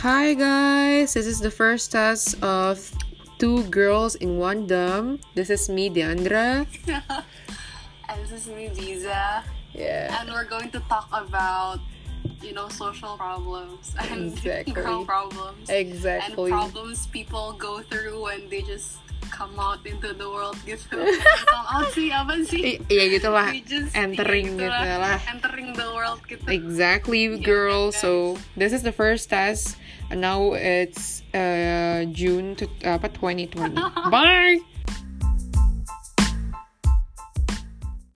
Hi guys, this is the first test of two girls in one dumb. This is me, Deandra. And this is me, Visa. Yeah. And we're going to talk about, you know, social problems and Exactly. girl problems. Exactly. And problems people go through when they just come out into the world gitu. come out sih, apa I- sih? Iya gitu lah. We just- Entering iya, gitu gitu lah. Entering the world gitu. Exactly, girl. So this is the first uh, test. And now it's uh, June to, apa 2020. Bye.